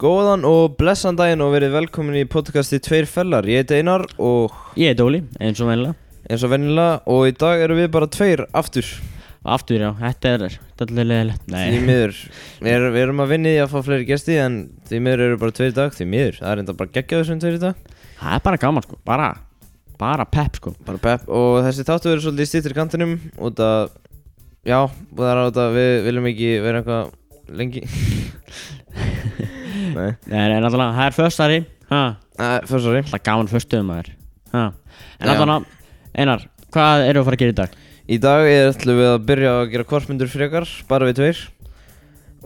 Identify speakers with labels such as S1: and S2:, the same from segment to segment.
S1: Góðan og blessan daginn og verið velkomin í podcasti Tveir fellar. Ég heiti Einar og
S2: Ég er Óli, eins og vennilega
S1: eins og vennilega og í dag eru við bara tveir aftur
S2: Aftur já, þetta er dallilegt
S1: því
S2: Nei,
S1: miður. Við, er, við erum að vinni í að fá fleiri gesti en því miður eru bara tveir í dag, því miður. Það er enda bara geggjaður sem tveir í dag.
S2: það er bara gaman sko, bara, bara pepp sko
S1: Bara pepp og þessi tátu verður svolítið stýttir kantinum út að, já, og það er út að við viljum ekki vera eitthvað lengi. Nei,
S2: Nei, nei, náttúrulega, það er föstari ha,
S1: Nei, fyrir sorry.
S2: Það er gaman föstuðum maður ha. En
S1: Já.
S2: náttúrulega, Einar, hvað eru að fara að gera í dag?
S1: Í dag er ætlum við að byrja að gera kvartmyndur frekar, bara við tveir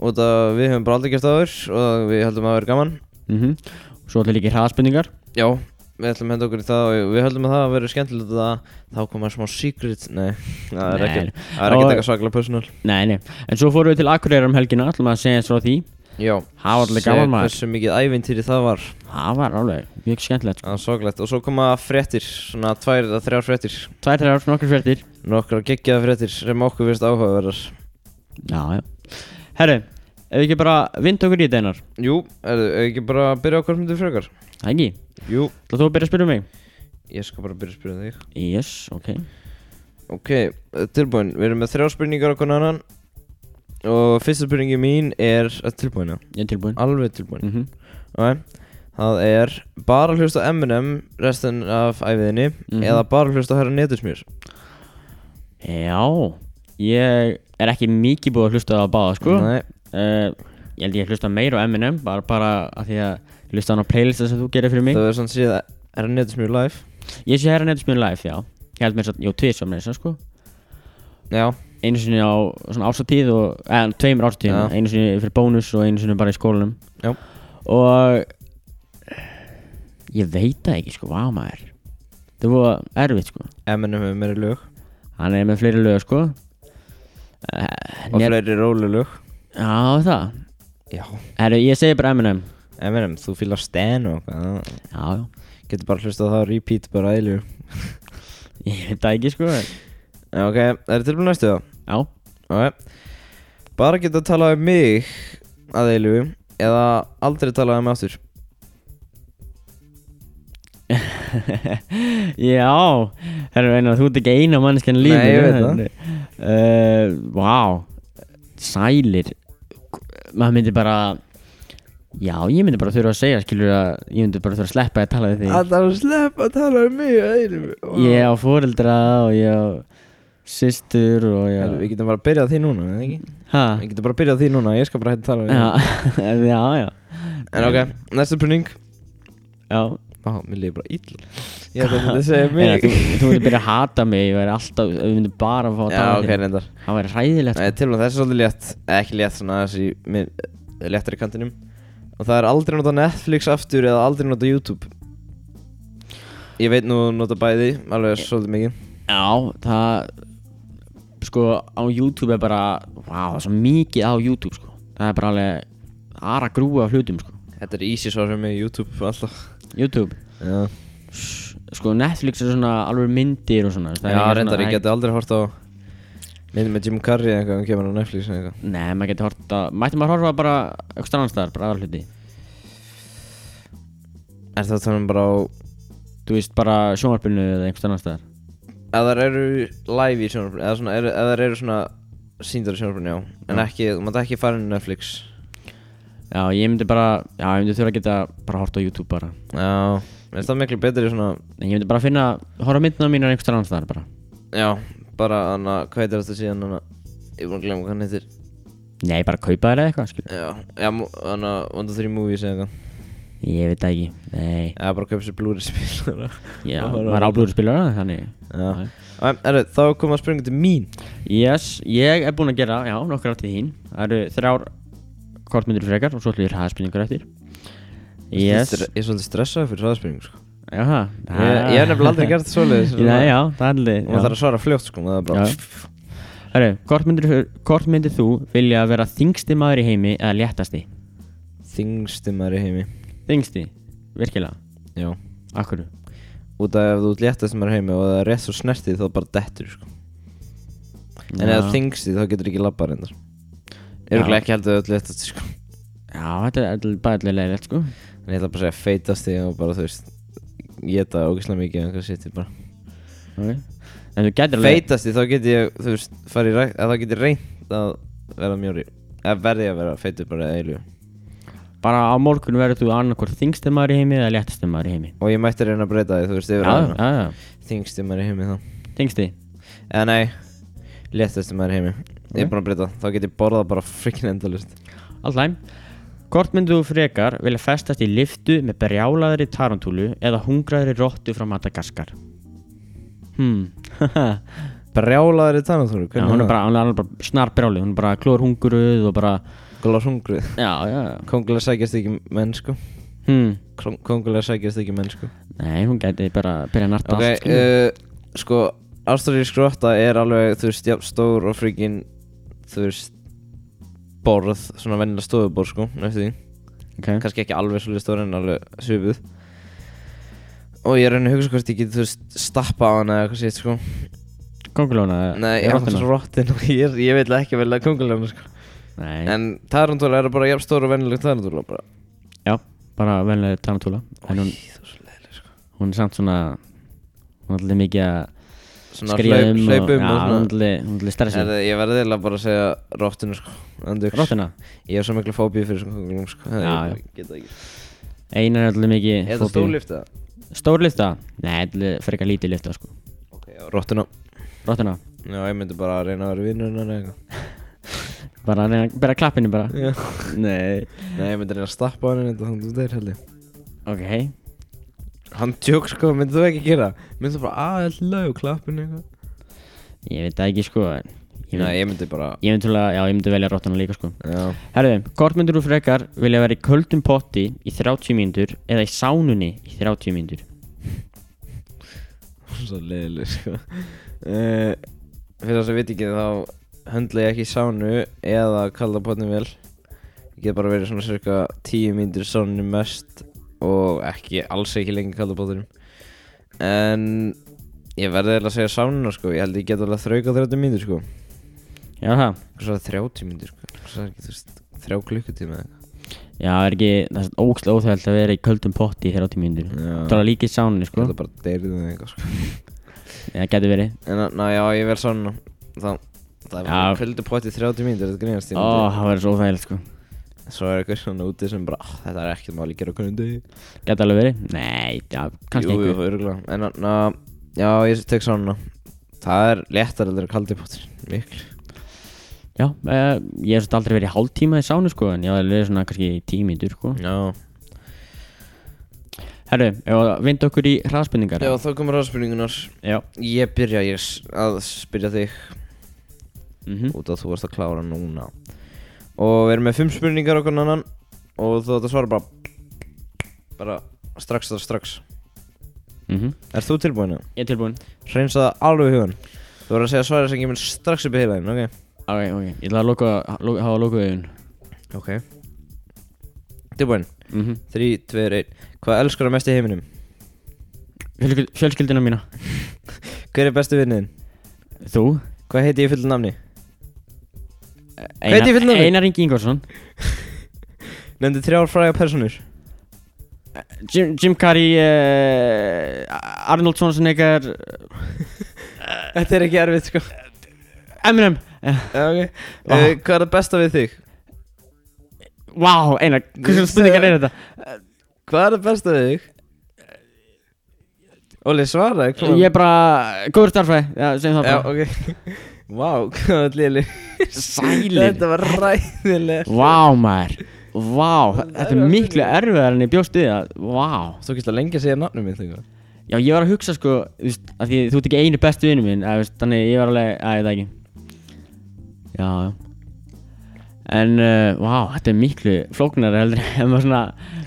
S1: Og það við hefum bara aldrei gert það áður og við heldum að það verði gaman
S2: Mm Svo allir líka hraðaspendingar
S1: Já, við ætlum að henda okkur í það og við heldum að það verði skemmtilegt og það Þá koma smá secret, nei, það er
S2: Nei.
S1: ekki, það er ekki
S2: Og-
S1: eitthvað svaklega personal
S2: Nei, nei, en svo fórum við til Akureyrar um helgina ætlum að segja eins frá því
S1: Já,
S2: Það var alveg
S1: sé
S2: gaman, maður.
S1: Hversu mikið ævintýri það var,
S2: Það var alveg mjög skemmtilegt sko.
S1: það var svaklegt Og svo koma fréttir, svona tvær eða þrjár fréttir
S2: Tvær þeirra nokkur fréttir
S1: Nokkrar geggjaða fréttir sem okkur finnst áhugaverðar
S2: Já, já Herru, ef við ekki bara vind okkur í þetta Einar
S1: Jú, er, er ekki bara að byrja á kvartmyndur frekar?
S2: Það ekki?
S1: Jú,
S2: Það þú að byrja að spyrja um mig?
S1: ég skal bara byrja að spyrja þig
S2: Yes, ok
S1: Ok, eh, tilbúin, við erum með þrjá spurningar okkur annan Og fyrsta spurningi mín er eh, tilbúin, já,
S2: Ég er tilbúin
S1: alveg tilbúin
S2: mm -hmm.
S1: Ok, það er bara hlusta á Eminem restin af æfiðinni
S2: Mhm.
S1: Eða bara hlusta á herra netusmjör
S2: Já, ég er ekki mikið búið að hlusta á báða sko
S1: Nei,
S2: uh, Ég held ég hlusta meir á Eminem bara, bara að því að ég hlusta á hana playlista sem þú gerir fyrir mig
S1: það verður svona síðan herra netusmjör live
S2: Ég sé hérna nefnst mjög live, já Ég held mér svo, jú, tvið svo mér svo sko
S1: Já,
S2: Einu sinni á svona ásatíð og, eða tveimur ásatíðum
S1: Já.
S2: Einu sinni fyrir bónus og einu sinni bara í skólanum
S1: já,
S2: Og Ég veit það ekki sko, hvað maður Það er búið erfitt sko
S1: Eminem hefur meiri lög
S2: Hann er með fleiri lög sko
S1: Og fleiri rólu lög
S2: Já það
S1: Já,
S2: Herru, ég segi bara Eminem
S1: Eminem, þú fýlar Stan og eitthvað það-
S2: Já, já
S1: Getur bara hlusta á það og repeat bara ælu
S2: Ég veit það ekki sko en-
S1: Já, ok, er tilbúin næstu það?
S2: Já
S1: Ok Bara geta að tala um mig að eilífu eða aldrei tala um mig aftur
S2: Já Herru, einar, þú ert ekki eina manneskjan lífið
S1: Nei, ég veit það.
S2: það Eh, Vá Sælir Maður myndi bara Já, ég myndi bara þurfa að segja skilur að Ég myndi bara þurfa að sleppa að tala við þig
S1: Alltaf slepp að tala um mig að eilífu
S2: Ég á foreldra og ég á systur og ég á
S1: Við getum bara að byrja á því núna, eða ekki?
S2: Hæ?
S1: Við getum bara að byrja á því núna, ég skal bara hægt að tala um
S2: Já, já, já
S1: þig En ok, næsta pruning
S2: Já
S1: Vá, mér líður bara ill Ég ætla að þetta segja
S2: Einar,
S1: mig
S2: Þú, þú myndir byrja að hata mig Ég væri alltaf, ef við myndum bara að fá að
S1: Já,
S2: tala
S1: ok,
S2: við þig.
S1: reyndar
S2: Það væri hræðilegt
S1: Nei, tilvæm, þessi er svolítið létt eða Ekki létt svona, þessi minn- léttari kantinum Og það er aldrei nota Netflix aftur eða aldrei nota YouTube Ég veit nú nota bæði, alveg svolítið mikið
S2: Já, það sko á YouTube er bara vá, það er svo mikið á YouTube sko það er bara alveg aðra grúa af hlutum sko
S1: Þetta er easy svar fyrir mig YouTube alltaf
S2: YouTube,
S1: Já,
S2: sko Netflix er svona alveg myndir og svona það er
S1: já
S2: ekki
S1: reyndar,
S2: svona,
S1: ég geti aldrei hort á Myndi með Jim Carrey eða eitthvað, hann kemur á Netflix eða eitthvað
S2: Nei, maður getur horta, mætti maður horfa bara eitthvað strannstæðar, bara aðra hluti
S1: Er það þannig bara á
S2: þú veist bara sjónvarpinu eða eitthvað strannstæðar
S1: Ef þær eru live í sjónarbrunni Eða svona, eru- ef þær eru svona síndar í sjónarbrunni, já En ekki, þú mátt ekki fara inn í Netflix
S2: Já, ég myndi bara, já, ég myndi þurfa að geta bara horta á YouTube bara
S1: Já, er það miklu betri svona
S2: en ég myndi bara finna, horfa á myndina mínar eitthvað strannstæðar bara
S1: Já, bara hann að, hvað heitir þetta síðan hann að Ég er búin að glemma hvað hann heitir
S2: Nei, bara kaupa þér eða eitthvað, skil
S1: Já, já, hann að One, Two, Three Movies eða eitthvað
S2: Ég veit það ekki, nei
S1: Eða bara kaupa sér Blu-ray spilara
S2: Já,
S1: Og horfa á
S2: maður er áblúður spilara, þannig
S1: Já, er, þá kom að springa til mín
S2: Yes, ég er búinn að gera, já, nokkur áttið þín Það eru þrjár kortmyndir frekar og svo ætlum ég hraðspinningur eftir
S1: Svolítið
S2: Yes
S1: stre- Ég er svolítið stressaði fyrir hraðspurningu sko.
S2: Já, það
S1: Ég ég hef nefnilega aldrei gert svoleiðis
S2: Ah. Já, já, það er alveg
S1: Maður þarf að svara fljótt sko maður er bara,
S2: Hörru, hvort myndir, hvort myndir þú vilja vera þingsti maður í heimi eða léttasti?
S1: Þingsti maður í heimi
S2: Þingsti, virkilega,
S1: Já
S2: akkur
S1: Út af ef þú léttast maður í heimi og það er rétt svo snertið þá bara dettur sko En
S2: Já.
S1: eða þingst því þá getur ekki labba reyndar Örgulega ekki heldur öll þetta sko
S2: Já, þetta er all- bara allir leiðilegt sko
S1: En ég ætla bara að segja feitast því og bara þú veist Geta ógislega mikið en hvað sittir bara
S2: okay. En þú getur alveg
S1: Feitast því þá get ég þú veist farið í rækt Þá get ég reynt að vera mjóri Eða verði að vera feitur bara eilu
S2: Bara á morgun verður þú annarkvort þingstum maður í heimi eða léttastum maður í heimi
S1: Og ég mætti reyna að breyta því þú veist yfir
S2: Já,
S1: aðra
S2: já, já,
S1: Þingst því maður í heimi þá
S2: þingsti
S1: Eða nei Léttast því maður í heimi Ég er
S2: Ok.
S1: búin að breyta Þá get ég borðað bara frikkin endalust
S2: Allæm Hvort myndu þú frekar vilja festast í liftu með berjálaðri tarantúlu eða hungraðri rottu frá Madagaskar? Hmm, haha
S1: Brjálaður í tannatúru
S2: Já, hún er bara, hún er alveg bara snar brjáli, hún er bara klór hunguruð og bara,
S1: Glóð hungrið
S2: já, já, já.
S1: Kongulega sækjast ekki mennsku
S2: hmm,
S1: Kongulega sækjast ekki mennsku
S2: nei, hún gæti bara byrja að narta
S1: Ok,
S2: allt, sko.
S1: uh, sko Ástralísk rotta er alveg, þú veist, jafn stór og frikin Þú veist Borð, svona vennilega stofuborð, sko Eftir því,
S2: okay.
S1: kannski ekki alveg svolítið stór en alveg svipuð Og ég reyni að hugsa hvort ég get, þú veist, stappa á hana eða eitthvað sétt, sko
S2: Kongulóna,
S1: Nei, ég er svo rottin og ég, er- ég vil ekki velja kongulegana, sko
S2: Nei,
S1: En tarantúla er bara jafn stór og vennileg tarantúla bara
S2: já, bara venlega tarantúla, en hún,
S1: sko.
S2: hún er samt svona, hún er alltaf mikið að
S1: Svona
S2: skriða
S1: hlaup, hlaup
S2: um og,
S1: um
S2: já,
S1: og svona
S2: hún er alltaf, hún er alltaf stressið.
S1: Herðu, ég verði eiginlega bara að segja róttinu sko Andux.
S2: Rottuna,
S1: Ég hef svo miklu fóbíu fyrir svona konglum sko Það
S2: Já,
S1: ég
S2: já.
S1: bara get það ekki.
S2: einar er alltaf mikið
S1: Er þetta
S2: fóbíu.
S1: stólifta?
S2: Stór lifta? Nei, alltaf frekar lítið lifta, sko.
S1: Ok, já, róttuna
S2: Rottuna,
S1: Já, ég myndi bara að reyna að vera vinnur hennar eitthvað
S2: bara að reyna, bara klappinu bara.
S1: Já.
S2: Nei.
S1: Nei, ég myndi reyna að stappa hann en þannig þú deyr held ég
S2: Ok,
S1: Hann tjók sko, myndi þú ekki gera Myndi þú bara "Ah, aðeinslega og klappinu eitthvað
S2: Ég veit það ekki sko en
S1: Nei,
S2: Ég myndi,
S1: ég myndi bara
S2: ég myndi, alveg- já, ég myndi velja rottuna líka sko
S1: Já
S2: Herðu, hvort myndur þú frekar vilja vera í köldum potti í 30 mínútur eða í sánunni í 30 mínútur
S1: Svo leiðileg sko uh, Fyrir það sem veit ekki þá höndla ég ekki sánu eða kalda potnum vel Ég get bara verið svona cirka 10 mínútur sánu mest og ekki, alls ekki lengi kalda potnum En ég verði eiginlega að segja sánuna sko, ég held ég get alveg að þrauka 30 mínútur sko
S2: Já það,
S1: Hvað svo er 30 mínútur sko, hvað svo er ekki þú veist, 3 klukkutíma eða
S2: já það er ekki, það er ógstlega óþægilegt að vera í köldum potti í 30 mínútur
S1: eitthvað
S2: Það er líka í sánunni
S1: Ég
S2: sko
S1: held að bara deyrið það eitthvað sko
S2: Það gæti verið
S1: En að- ná já, ég verð sánuna þá Það er bara
S2: Já.
S1: köldu potið 30 mínútur, þetta grínast ég
S2: Ó,
S1: myndi-
S2: það verður svo óþægilegt sko
S1: Svo er eitthvað svona úti sem bara "Ah, Þetta er ekkert máli gera okkur um degi
S2: Gæti alveg verið Nei, já, kannski
S1: Jú,
S2: einhver
S1: Jú, örgulega En na, já, ég tek svona Það er léttar heldur að kaldi potur Miklu
S2: Já, uh, ég hef svolítið aldrei verið í hálftíma í sánu sko En ég hef alveg verið svona kannski í 10 mínútur sko
S1: Já
S2: Herru, ef að vinda okkur í hraðspendingar
S1: Já, þá komur aðspurningunar
S2: já.
S1: Ég byrja ég s- að spyrja þig
S2: Mm
S1: Út að þú varst að klára núna Og við erum með fimm spurningar okkur annan Og þú átt að svara bara Bara strax það strax Er þú tilbúin?
S2: Mhm.
S1: hérna?
S2: Ég er tilbúin
S1: Hreinsa það alveg í hugan Þú verður að segja svara sem kemur strax upp í heilaðin, ok?
S2: Ok, ok, ég ætla að loka, lo, hafa að loka auðun
S1: Ok Tilbúin
S2: mm -hmm.
S1: 3, 2, 1 Hvað elskar það mest í heiminum?
S2: Fjölskyldina mína
S1: Hver er bestu vinniðin?
S2: Þú
S1: Hvað heiti ég fullu nafni? heitir
S2: Einar,
S1: ég fullu nafni?
S2: Einar Ingi Ingvarsson
S1: Nefndi þrjár fræga personur
S2: Jim, Jim Carrey uh, Arnold Schwarzenegger eh,
S1: Þetta er ekki erfitt sko
S2: Eminem uh,
S1: okay.
S2: Vá.
S1: uh, Hvað er það besta við þig?
S2: Wow, Einar, hversu spurningar er þetta?
S1: Hvað er það besta við þig? Óli, svara hvað-
S2: Ég er bara, góður starfæði Já, segjum það
S1: Já,
S2: bara
S1: ok Vá, hvað er léli
S2: Sælir
S1: Þetta var ræðilega
S2: Vá, maður Vá, þetta er miklu erfiðar en ég bjóst við það Vá
S1: Þú kýrst að lengi að segja nafnum mitt þegar
S2: Já, ég var að hugsa sko, þú veist, að því þú ert ekki einu bestu vinnu minn, að, þú veist, þannig ég var alveg, að ég veit það ekki. Já, já. En, uh, vá, þetta er miklu flóknar heldur, en maður svona,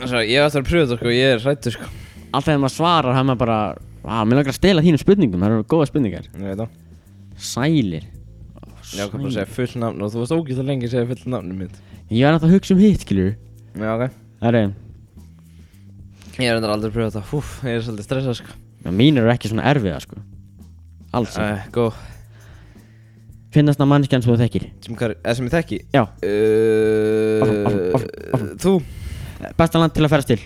S1: Svo, ég ætti að pröfa þetta sko, ég er hrættur sko
S2: alltaf þegar maður svarar, það er maður bara, vá, mér langar að stela þínum spurningum, það eru góða spurningar.
S1: Ég veit það
S2: Sælir.
S1: Ég ákvað bara að segja full nafn og þú varst ógist að lengi að segja full nafnum mitt
S2: Ég var alltaf að hugsa um hitt, skilur.
S1: Já, ok
S2: Það er,
S1: Ég er endur aldrei að pröfa þetta, húf, ég er svolítið stressað sko
S2: já, mín eru ekki svona erfiða, sko. Alls.
S1: Æ, Góð,
S2: Fyrst finnast það mannskjan sem þú þekkir
S1: sem, hver, eða sem ég þekki
S2: Já.
S1: uh,
S2: Áfram, áfram, áfram, áfram.
S1: Þú,
S2: Besta land til að ferast til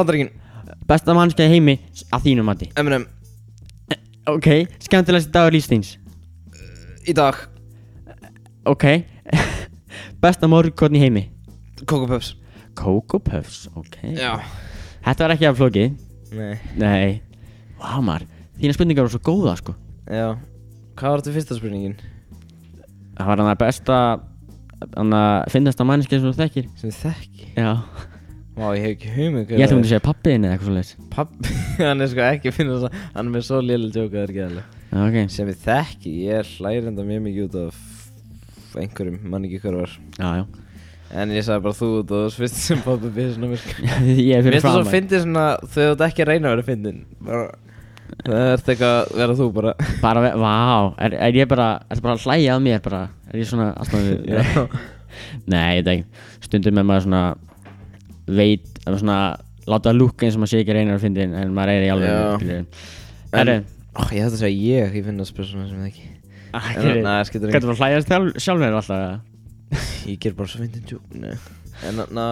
S1: Bandaríkin, M&M,
S2: Besta mannskja í heimi s- að þínu mati
S1: Eminem
S2: Ok Skemmtilegst dagur lífstíns
S1: Í dag,
S2: Ok Besta morgun í heimi
S1: Coco Puffs
S2: Coco Puffs Ok
S1: Já
S2: Þetta var ekki af flókið
S1: Nei
S2: Nei Vá maður Þína spurningar var svo góða sko
S1: Já Hvað var þetta fyrsta spurningin
S2: Það var hann að besta Hann að finnast að mannskja sem þú þekkir
S1: sem ég þekki?
S2: Já
S1: Má, ég hef ekki hugmynd um
S2: Ég ætlum að segja pappiðin eða eitthvað svoleiðis
S1: Pappi, hann er sko ekki að finna þess að Hann er með svo lélega djóka það er ekki aðlega
S2: Já, Ok
S1: Sem ég þekki, ég hlæri enda mjög mikið út af einhverjum, mann ekki hver var
S2: Já já
S1: En ég sagði bara þú út og þú fyrst sem pappi byrði svona mér sko
S2: Ég er
S1: Mér
S2: fyrir
S1: finnst það
S2: fram
S1: svo fyndið svona, þau átt ekki að reyna að vera fyndin Bara, það er eitthvað að vera þú bara
S2: Bara ve- Vá er, er ég bara Er það bara að hlæja að mér bara Er ég svona alltaf
S1: Já.
S2: Nei ég veit ekki Stundum er maður svona Veit Það er svona Láta lúka eins og maður sé ekki reynar að fyndi En maður er í
S1: Já.
S2: alveg Herru
S1: Ó, Ég ætti að segja ég, ég finna spesuna sem það ekki
S2: Akkur
S1: Nei, það skiptir engu.
S2: Gætu bara að hlæja sjálf- sjálf mér alltaf eða?
S1: Ég ger bara svo fyndin djók Nei. En þarna,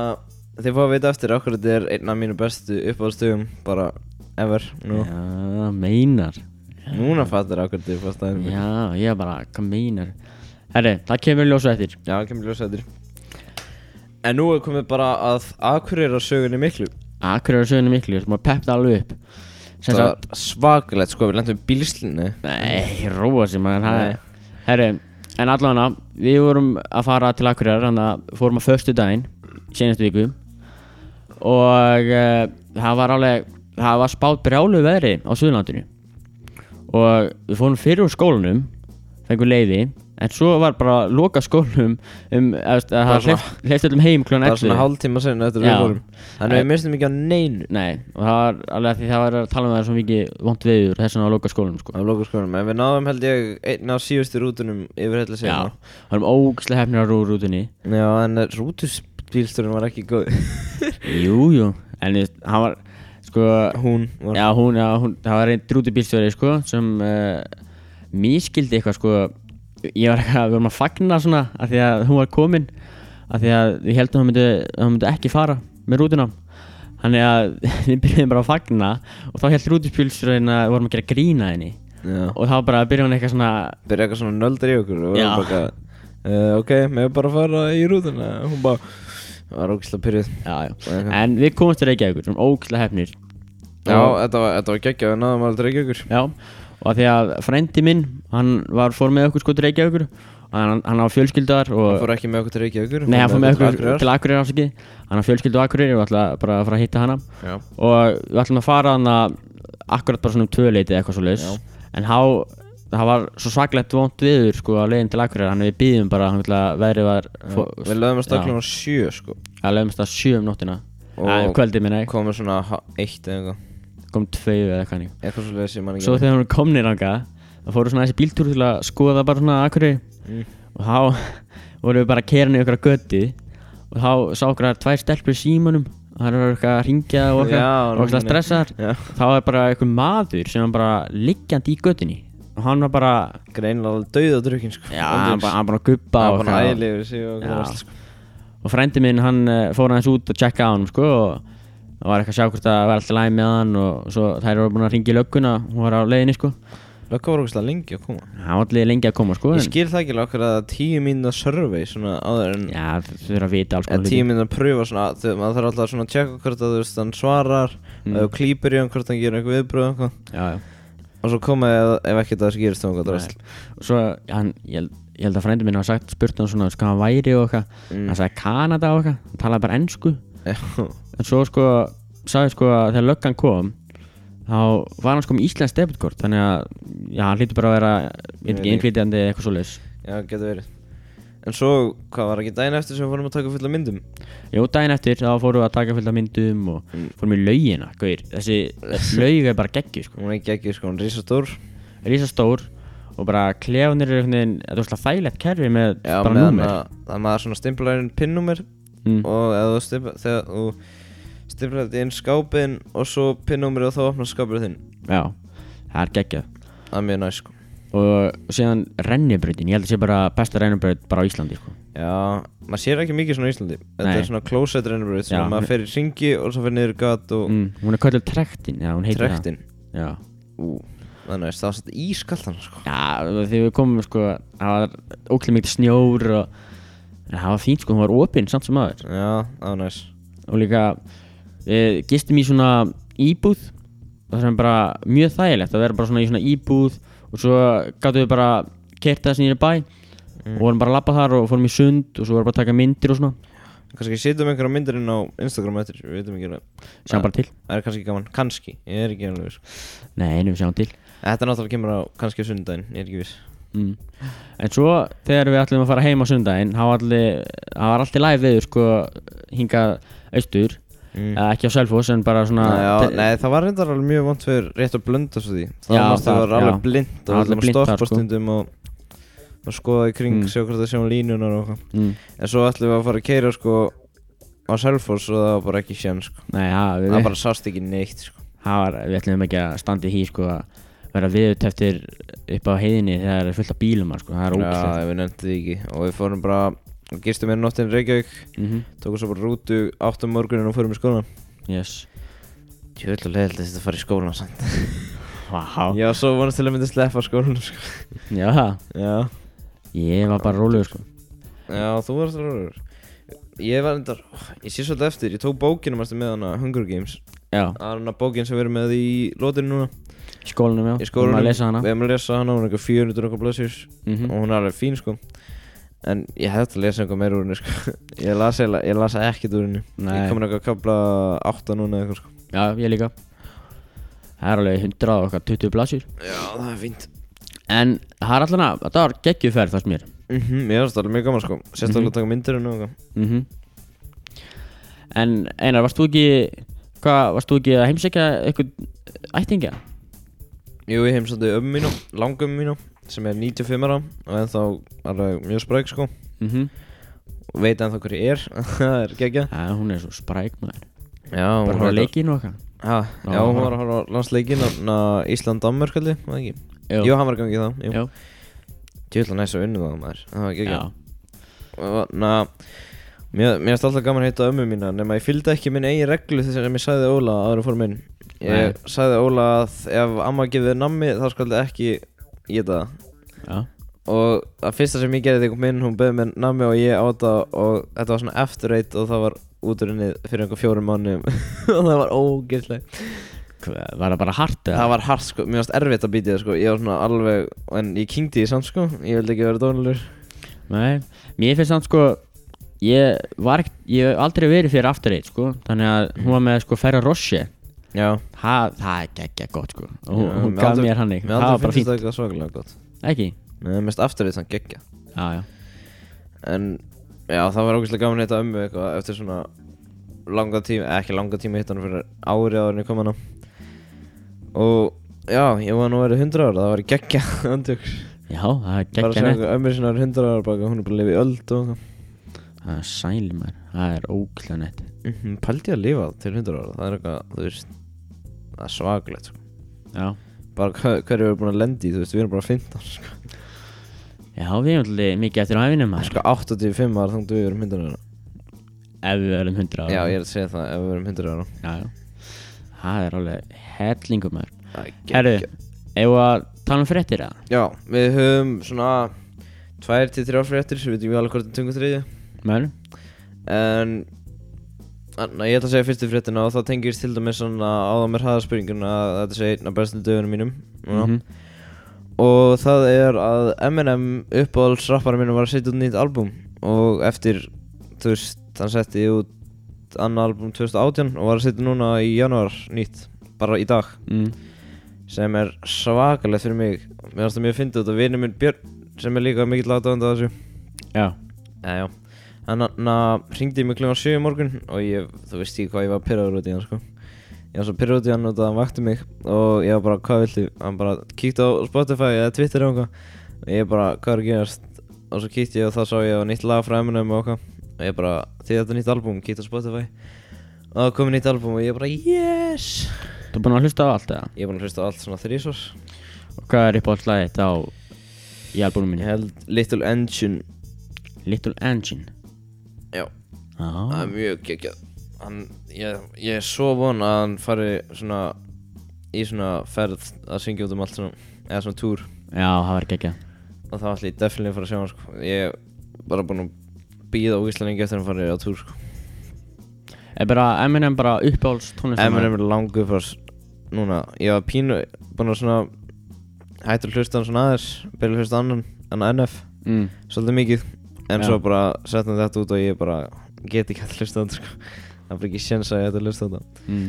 S1: þið fáið að vita eftir okkur þetta er einn af mínu bestu uppáðstöðum bara ever nú.
S2: Já, meinar
S1: Núna fattar okkur þetta uppáðstæðinu mín
S2: Já, ég er bara, hvað meinar Herri, það kemur ljósa eftir
S1: Já, það kemur ljósa eftir En nú er komið bara að Akureyra sögunni miklu
S2: Akkur eru söguna miklu, sem að peppa alveg upp Sem
S1: Það
S2: sagt,
S1: var svakalegt sko, við lentum í bílslinu
S2: nei, róa sig maður það
S1: Nei.
S2: er- Herri, en allavega Við vorum að fara til Akureyrar Þannig að fórum að föstu daginn Seinustu viku Og uh, það var alveg Það var spáð brjálu veðri á Suðurlandinu Og við fórum fyrir úr skólanum Fengum leiði En svo var bara að loka skólanum um, eða, að
S1: Bara
S2: Það
S1: svona-
S2: hleyft öllum heim klón
S1: Það var svona hálftíma sen eftir
S2: Já.
S1: við vorum Þannig
S2: Eh.
S1: við mistum ekki á neinu
S2: Nei, og það var alveg að því það var að tala um það er svo mikið vond viður þess vegna að loka skólanum sko.
S1: á lokaskólanum En við náðum held ég einn af síðustu rútunum yfir hella
S2: Já,
S1: segja
S2: það erum ógæslega hefnir að rúa rútunni
S1: Já, en rútusbílstjórinn var ekki góð
S2: Jú, jú, en þú veist, hann var sko,
S1: Hún var
S2: já hún, já, hún það var einn drútubílstjóri sko sem uh, mískildi eitthvað sko ég var eitthvað, við vorum að fagna svona af því að hún var komin af því að við heldum að hún myndi, að hún myndi ekki fara með rútuna þannig að við byrjuðum bara að fagna og þá held rútubílstjórin að við vorum að gera grína henni
S1: Já.
S2: og þá bara byrjuði hún eitthvað svona
S1: byrja eitthvað svona nöldri í okkur og við
S2: Já.
S1: varum bara uh, ok, með bara að fara í rúðuna hún bara, það var ógislega pyrrið
S2: já, já.
S1: Ok.
S2: En við komumst til Reykjavíkur, svona ógæslega hefnir
S1: já, þetta var, þetta var geggjað, við náðum aldrei ekki okkur
S2: Já, og að því að frendi minn, hann var fór með okkur sko til Reykjavíkur og Hann, hann á fjölskyldar
S1: hann
S2: og
S1: fór ekki með okkur til Reykjavíkur
S2: Nei, hann fór með okkur
S1: til
S2: til Akureyri ásaki Hann á fjölskyldu á Akureyri og ætla bara að fara að hitta hana
S1: Akureyrar. já,
S2: Og við ætlum að fara hann að Akkurat bara svona um tvöleiti eða eitthvað svo laus En há, það var svo svaklegt vont viður sko á leiðin til Akureyri Þannig við býðum bara, hann vil að veðrið var
S1: við lögum að stakla á sjö sko
S2: Það lögumst að sjö um nóttina
S1: Og-
S2: Æ, um kvöldið minna,
S1: komið svona ha- eitt eða eitthvað
S2: kom tvei eða eitthvað þannig.
S1: eitthvað svo leiðis ég man ekki
S2: Svo þegar hún komnir ánga Það fóru svona þessi bíltúr til að skoða bara svona akkurri
S1: Mm.
S2: Og þá voru við bara að kera niður ykkur að götti Og þá sá okkur að tvær stelpur í símanum og Það eru eitthvað að ringja og
S1: Já,
S2: okkar Og það
S1: númerið.
S2: stressaðar
S1: Já.
S2: Þá er bara einhver maður sem var bara liggjandi í göttinni Og hann var bara
S1: greinlega alveg dauð á drukkin sko
S2: Já, hann bara, hann bara að gubba
S1: bara
S2: og
S1: bara
S2: eitthvað.
S1: ægilegur sig og
S2: Já.
S1: okkur allt sko
S2: Og frændi minn hann eh, fór aðeins út og checka á hann sko og það var eitthvað að sjá hvort það var alltaf læg með hann og svo þær voru búin að ringja í lögguna hún var á leiðinni sko
S1: lögka var ógislega lengi að koma
S2: hann var allir lengi að koma sko
S1: ég
S2: en-
S1: skil það ekki alveg okkur að það er tíu mínuna survey svona áður en
S2: Já, þau eru að vita alls
S1: En
S2: konar
S1: tíu
S2: hluti
S1: minn að pröfa svona, þau, maður þarf alltaf svona að tjekka hvort að þú veist hann svarar
S2: Mm.
S1: mm. eða þú klýpir í hann hvort hann gerir eitthvað viðbröð og eitthvað
S2: Já, já
S1: og svo koma ef, ef ekkert að það gerist þá eitthvað
S2: Nei.
S1: drast
S2: Og svo, hann, ég, held- ég held að frændi minn hafa sagt, spurt hann svona, sko, hann væri og eitthvað
S1: Mm.
S2: Hann sagði Kanada og eitthvað, hann talaði bara ennsku
S1: Já,
S2: En svo, sko, sagði sko að þegar löggan kom Þá var hann sko með Íslands debitkort Þannig að, já, hann hlýtur bara að vera, ég
S1: Nei,
S2: veit ekki, innflytjandi eða eitthvað svoleiðis
S1: já, getur verið En svo, hvað var ekki daginn eftir sem við fórum að taka fulla myndum?
S2: Jó, daginn eftir, þá fórum við að taka fullt af myndum og
S1: Mm.
S2: fórum í laugina, gauir Þessi laug er bara geggju, sko
S1: Hún er ekki ekki, sko, hún er risastór
S2: Rísastór og bara klefanir eru einhvern veginn, þetta er óslega þægilegt kerfi með
S1: Já,
S2: bara
S1: meðan
S2: númer
S1: að- að maður svona stimplar inn pinnúmer
S2: Mm.
S1: og eða þú stimplar, þegar þú stimplar þetta inn skápin og svo pinnúmerið og þá opnar skápurinn þinn
S2: Já, það er geggjað
S1: Það er mjög næst, sko
S2: og síðan rennibrautin, ég held að sé bara besta rennibraut bara á Íslandi sko.
S1: Já, maður sér ekki mikið svona í Íslandi Þetta
S2: Nei.
S1: er svona closet rennubröð sem
S2: Já,
S1: maður
S2: hún-
S1: fer í ringi og svo fer niður í gat og
S2: mm, hún er kallið trektin, já hún heitir
S1: trektin
S2: það já.
S1: Ú, þannig að það var svona ískaldan sko
S2: já, þegar við komum sko það var óklæð mikið snjór og en það var fínt sko, hún var opinn samt sem aður
S1: Já, það var næs
S2: og líka við gistum í svona íbúð og það sem bara mjög þægilegt að vera bara svona í svona íbúð og svo gáttum við bara kerta þessi nýri bæ
S1: Mm.
S2: og vorum bara að labba þar og fórum í sund og svo vorum bara að taka myndir og svona
S1: Kannski setjum einhverja myndir inn á Instagram eftir, við veitum ekki alveg
S2: sjáum bara til
S1: Það er kannski gaman, kannski, ég er ekki alveg sko.
S2: nei, nú sjáum til
S1: Þetta náttúrulega kemur á kannski á sunnudaginn, ég er ekki viss
S2: Mm. En svo þegar við ætlum að fara heim á sundaginn þá var allir- það var alltaf læg veður sko hingað austur
S1: Mm.
S2: eða ekki á Selfoss en bara svona
S1: Nei, já,
S2: te-
S1: nei, það var reyndar alveg mjög vant fyrir rétt að blunda svo því Það
S2: Já,
S1: já, mannst það var
S2: það-
S1: alveg
S2: já.
S1: blind
S2: Það var
S1: og allir
S2: alveg blint
S1: maður
S2: þar,
S1: stoppa
S2: sko.
S1: stundum og, og skoða í kring,
S2: Mm.
S1: sjá hvort það sjáum línunar og eitthvað
S2: mm.
S1: En svo ætlum við að fara að keira sko á Selfoss og það var bara ekki sjans sko
S2: nei já, við,
S1: Það bara sást ekki neitt sko
S2: það var, við ætlum ekki að standa í hí sko að vera viðutöftir upp á heiðinni þegar það er fullt af bílum þar, sko, það er ógæslegt
S1: Já, við nefndum því ekki og við fórum bara og gistum einu nóttin í Reykjavík
S2: mm
S1: Tókum svo bara rútu áttum morgunin og fórum í skólan
S2: yes.
S1: Tjöld og leiðilegt að þetta fara í skólan samt
S2: wow.
S1: Já, svo vonast til að myndi sleppa skólan sko
S2: já,
S1: Já
S2: ég var bara rólegur sko
S1: Já, þú varst ráður Ég var endar, ég sé svolítið eftir, ég tók bókina mæstu með hana Hunger Games
S2: já,
S1: Það er hana bókin sem við erum með í lótinu núna
S2: í skólanum já,
S1: Í skólanum,
S2: maður lesa hana
S1: Við erum að lesa hana, hún er eitthvað 400 og eitthvað blaðsjurs
S2: Mhm.
S1: Og hún er alveg fín sko En ég hefði að lesa eitthvað meira úr henni sko Ég las, eiginlega- ég las ekkert úr henni
S2: Nei.
S1: Ég komin eitthvað að kapla 8 núna eða eitthvað sko
S2: já, ég líka það er alveg 100 og okkar 20 blasjur
S1: Já, það er fínt
S2: En það er allan að, það var geggjuferð fannst mér
S1: mm Ég finnst það alveg mjög gaman sko Sérstaklega
S2: Mhm.
S1: að taka myndir henni og eitthvað
S2: mm En Einar, varst þú ekki, hvað, varst þú ekki að heimsækja eitthvað ættingja?
S1: Jú, ég heimsandi ömmu mínu, langum mínu Sem er 95 ára og ennþá alveg mjög spræk sko
S2: Mm -hmm.
S1: og veit ennþá hver ég er það er geggja
S2: Það, hún er svo spræk maður
S1: já,
S2: Bara að
S1: var
S2: horfa á leikinn og eitthvað
S1: ha,
S2: Já,
S1: já, hún
S2: horfa.
S1: var að horfa á landsleikin na, Ísland Danmark kalli, var það ekki
S2: Jú.
S1: jú, hann var gangið það jú,
S2: Já,
S1: tjóðlega næst að unnu það maður það var geggja
S2: já,
S1: Og, na, mér mér finnst alltaf gaman að heita ömmu mína nema ég fylgdi ekki minn eigin reglu þess að ég sagði Óla áður en fór minn
S2: Nei.
S1: ég sagði Óla að ef amma gefið nammi þá skaldi ekki geta það
S2: já,
S1: og að fyrsta sem ég gerði þegar ég kom inn hún beði mér nammi og ég áta og þetta var svona eftirreitt og það var útrunnið fyrir einhver fjórum mánu og það var ógeðslega
S2: Hva- Var það bara hart eða?
S1: það var hart sko, mér varst erfitt að býta það sko ég var svona alveg, en ég kynkti því samt sko ég vildi ekki vera dónalur
S2: Nei, mér finnst þannig sko Ég var ekkert, ég hef aldrei verið fyrir aftur eitt sko Þannig að hún var með sko Ferra Roche
S1: já,
S2: Það, það er geggja gott sko Og hún,
S1: Já,
S2: hún
S1: mér
S2: gaf
S1: aldrei-
S2: mér hann eitthvað
S1: mér
S2: Það var
S1: aldrei
S2: bara
S1: finnst
S2: fínt,
S1: það eitthvað svakalega gott
S2: ekki?
S1: mér finnst eftirreitt þann geggja
S2: Já, já
S1: en já, það var ógeðslega gaman að heita ömmu eitthvað eftir svona langa tíma, eh, ekki langa tíma hittan fyrir árið áður en ég kom hana og já, ég var nú verið 100 ára, það var geggja andjóks
S2: Já, það er
S1: bara að
S2: geggja
S1: segja
S2: nett
S1: eitthvað ömmir sinna er 100 ára baka hún er bara að lifa í öld og
S2: Það er sæl maður, það er ókla nett
S1: eitthvað Mhm, pældi að lifa til 100 ára það er eitthvað, þú veist það er svaglegt sko.
S2: Já,
S1: bara hva- hverju við erum búin að lendi í, þú veist, við erum bara 15 sko,
S2: já við erum alltaf mikið eftir á æfinu maður
S1: sko 85 ára þannig við erum 100 ára
S2: Ef við verðum 100 ára
S1: já, ég er að segja það, ef við erum 100 ára
S2: já, já. Það er alveg hellingum maður
S1: Það er geggjað.
S2: Herru, eigum við að tala um fréttir eða?
S1: já, við höfum svona tvær til þrjá fréttir, við veitum við alveg hvort það tungu þriðja
S2: Maður?
S1: En Þannig að ég ætla að segja fyrstu fréttina og það tengist til dæmis svona áðan mér hraða spurninguna að þetta sé einn af bestu dögunum mínum núna.
S2: Mhm.
S1: Og það er að Eminem uppáhaldsrappara mínum var að setja út nýtt album og eftir, þú veist, hann setti út annað album 2018 og var að setja núna í januar nýtt, bara í dag
S2: Mm.
S1: sem er svakalegt fyrir mig Mér finnst það mjög fyndið út að vinur minn Björn sem er líka mikill aðdáðandi að þessu
S2: Já,
S1: Já, já En hann hringdi mig klukkan 7 í morgun og ég, þú veist ekki hvað ég var pyrraður út í hann sko Ég var svo pyrraður út í hann út að hann vakti mig og ég var bara, hvað viltu? Hann bara kíkti á Spotify eða Twitter eða eitthvað og ég bara, hvað er að gerast? Og svo kíkti ég og þá sá ég á nýtt lag frá Eminem og eitthvað og ég bara, því þetta er nýtt album, kíkti á Spotify og það komið nýtt album og ég bara, yes!
S2: þú er búin að hlusta á allt eða?
S1: Ég er búin að hlusta á allt svona þrísvars
S2: Og hvað er upp á alltaf þetta á í albúmum
S1: Ég
S2: mínu
S1: held Little Engine
S2: Little Engine
S1: Já, það
S2: Já,
S1: er mjög geggjað hann, ég, ég er svo von að hann fari svona í svona ferð að syngja út um allt svona eða svona túr
S2: já það var geggja
S1: og þá ætla ég definitely að fara að sjá hann sko. ég er bara búinn að býða ógíslega lengi eftir að hann fari á túr sko.
S2: Er bara Eminem bara uppáhalds tónlistar
S1: Eminem er langu frá s- núna ég var pínu búinn að svona hættu að hlusta hann svona aðeins byrja að hlusta annan en NF
S2: mm.
S1: svolítið mikið en
S2: Já.
S1: svo bara setna þetta út og ég bara get ekki að hlusta á þetta sko. það er bara ekki séns að ég ætti að hlusta á þetta
S2: mm.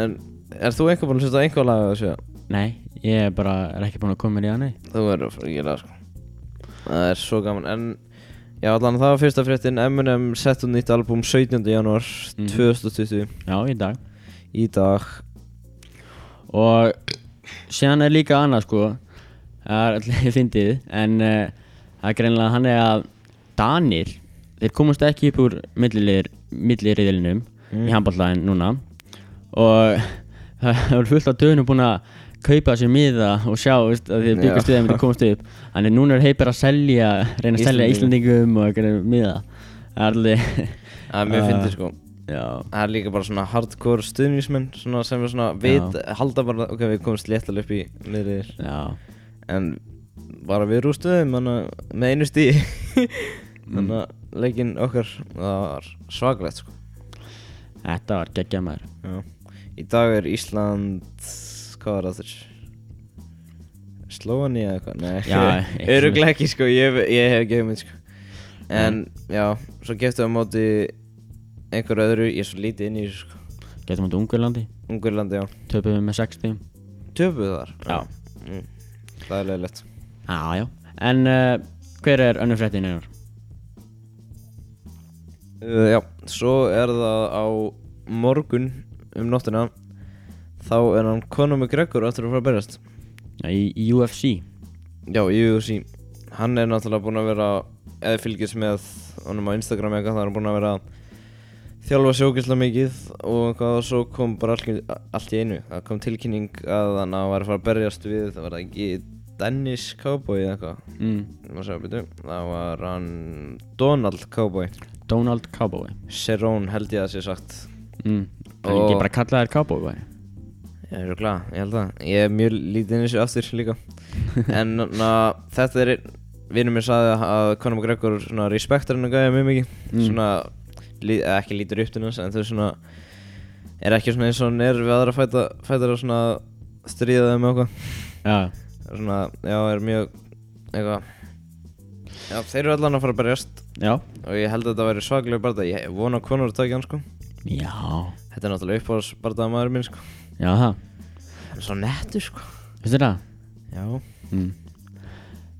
S1: En er þú einhver búinn að hlusta á einhver lag að þessu?
S2: Nei, ég er bara er ekki búin að koma mér í það, nei
S1: Þú verður að fara að gera það sko Það er svo gaman En já allan það var fyrsta fréttin Eminem sett út nýtt albúm 17. januar
S2: Mhm.
S1: 2020
S2: Já, í dag
S1: Í dag
S2: Og síðan er líka annað sko Það er allir fyndið En uh, það er greinlega hann er að Danir, þeir komast ekki upp úr milliriðilinum
S1: Mm.
S2: í handballæðin núna og það er fullt af döðunum búin að kaupa sér miða og sjá veist, að þið
S1: Já.
S2: byggast við að myndi komast upp þannig núna er heipir að selja reyna að selja Íslandingum og einhverju miða það er allir
S1: Það er mjög
S2: Ah.
S1: fyndið sko
S2: já,
S1: Það er líka bara svona hardcore stuðnismenn Svona sem er svona veit Halda bara ok við komumst léttalega upp í miðriðir
S2: já,
S1: En bara við rústuðum Þannig að með einu stíð Þannig að leikinn okkar Það var svaglegt sko
S2: þetta var geggja maður
S1: Já. Í dag er Ísland, hvað var það þurr? Slóani eða eitthvað? Nei,
S2: Já, eitthvað
S1: öruglega ekki sko, ég, hef- ég hef gefið mig sko. En já, svo geftum við á móti einhverju öðru, ég er svo lítið inn í þessu sko.
S2: getum átt Ungurlandi,
S1: Ungurlandi, já.
S2: töpum við með 60
S1: Töpuð þar?
S2: Já.
S1: Mm. Það er leiðilegt.
S2: já, já, en uh, hver er önnur fréttin einar?
S1: Uh, já, svo er það á morgun um nóttina, þá er hann Conor McGregor aftur að fara að berjast.
S2: Já, í, í UFC
S1: Já, UFC Hann er náttúrulega búinn að vera eða fylgjast með honum á Instagram eða eitthvað, það er hann búinn að vera að þjálfa sjókislega mikið og eitthvað og svo kom bara allt, allt í einu það kom tilkynning að hann að var að fara að berjast við það var það ekki Dennis Cowboy eða eitthvað
S2: mm.
S1: Má sjá, byrju. það var hann Donald Cowboy
S2: Donald Cowboy
S1: Serón held ég að sé sagt
S2: mm. Það er
S1: Og-
S2: ekki bara kallaðir Cowboy væri?
S1: Ég er glæð, ég held það Ég er mjög lítið inn í þessu aftur líka En na, þetta er Vinnum mér sagði að Conor McGregor svona respektar hann að gæja mjög mikið
S2: Mm.
S1: Svona, lí, eða ekki lítur upp til hans En þau svona Er ekki svona eins og hann er við aðra fæta Fætar að svona stríða þeim með okkur
S2: Já,
S1: Svona, já, er mjög Eitthvað Já, þeir eru allan að fara að berjast
S2: já
S1: Og ég held að þetta væri svaklega barða Ég vona að Conor taki hann sko
S2: Já,
S1: Þetta er náttúrulega uppáðsbarðað maður minn sko
S2: já það,
S1: Hann er Svo nettur sko
S2: veistu það?
S1: Já
S2: Mm.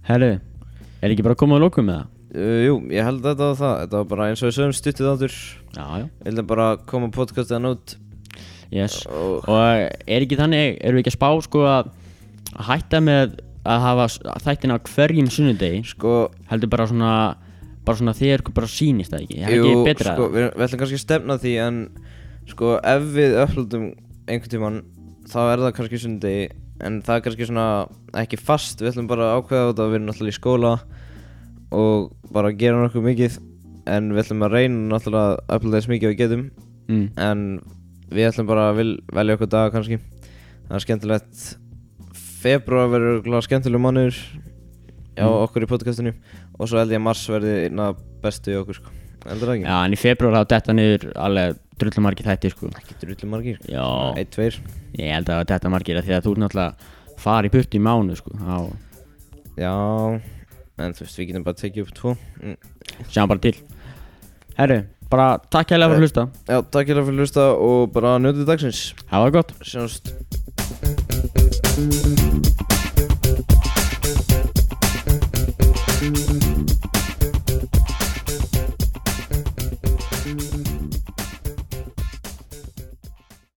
S2: Herru, er ekki bara að koma að lokum með það?
S1: Uh, jú, ég held að þetta var það Þetta var bara eins og við sögum stuttið áttur
S2: Já, já
S1: Ég held að bara koma podcastið út
S2: Yes,
S1: Og-
S2: og er ekki þannig, erum við ekki að spá sko að að hætta með að hafa s- þættina á hverjum sunnudegi
S1: Sko,
S2: heldur bara svona bara svona þegar ykkur bara sýnist það ekki, það er
S1: jú,
S2: ekki betra
S1: sko við, við ætlum kannski að stefna því En sko, ef við upplöldum einhvern tímann Þá er það kannski sundegi En það er kannski svona ekki fast Við ætlum bara að ákveða þetta Við erum náttúrulega í skóla Og bara að gera nokkuð mikið En við ætlum að reyna náttúrulega að upplöða þess mikið og við getum
S2: mm.
S1: en við ætlum bara að vil, velja okkur daga kannski það er skemmtilegt februar verður örugglega skemmtilegur mánuður já,
S2: Mm.
S1: okkur í podcastinu og svo held ég að mars verði einna bestu í okkur sko. heldur það ekki?
S2: Já, en í februar þá detta niður alveg drullumarki þætti sko
S1: ekki drullu margir
S2: Já,
S1: einn, tveir
S2: ég held að detta margir af því að þú ert náttúrulega farið í burt í mánu sko þá
S1: já, en þú veist, við getum bara tekið upp tvo mm.
S2: sjáum bara til Herru, bara takk hérlega fyrir að hlusta
S1: já, takk hérna fyrir að hlusta og bara njótið dagsins
S2: Hafa það gott
S1: sjáumst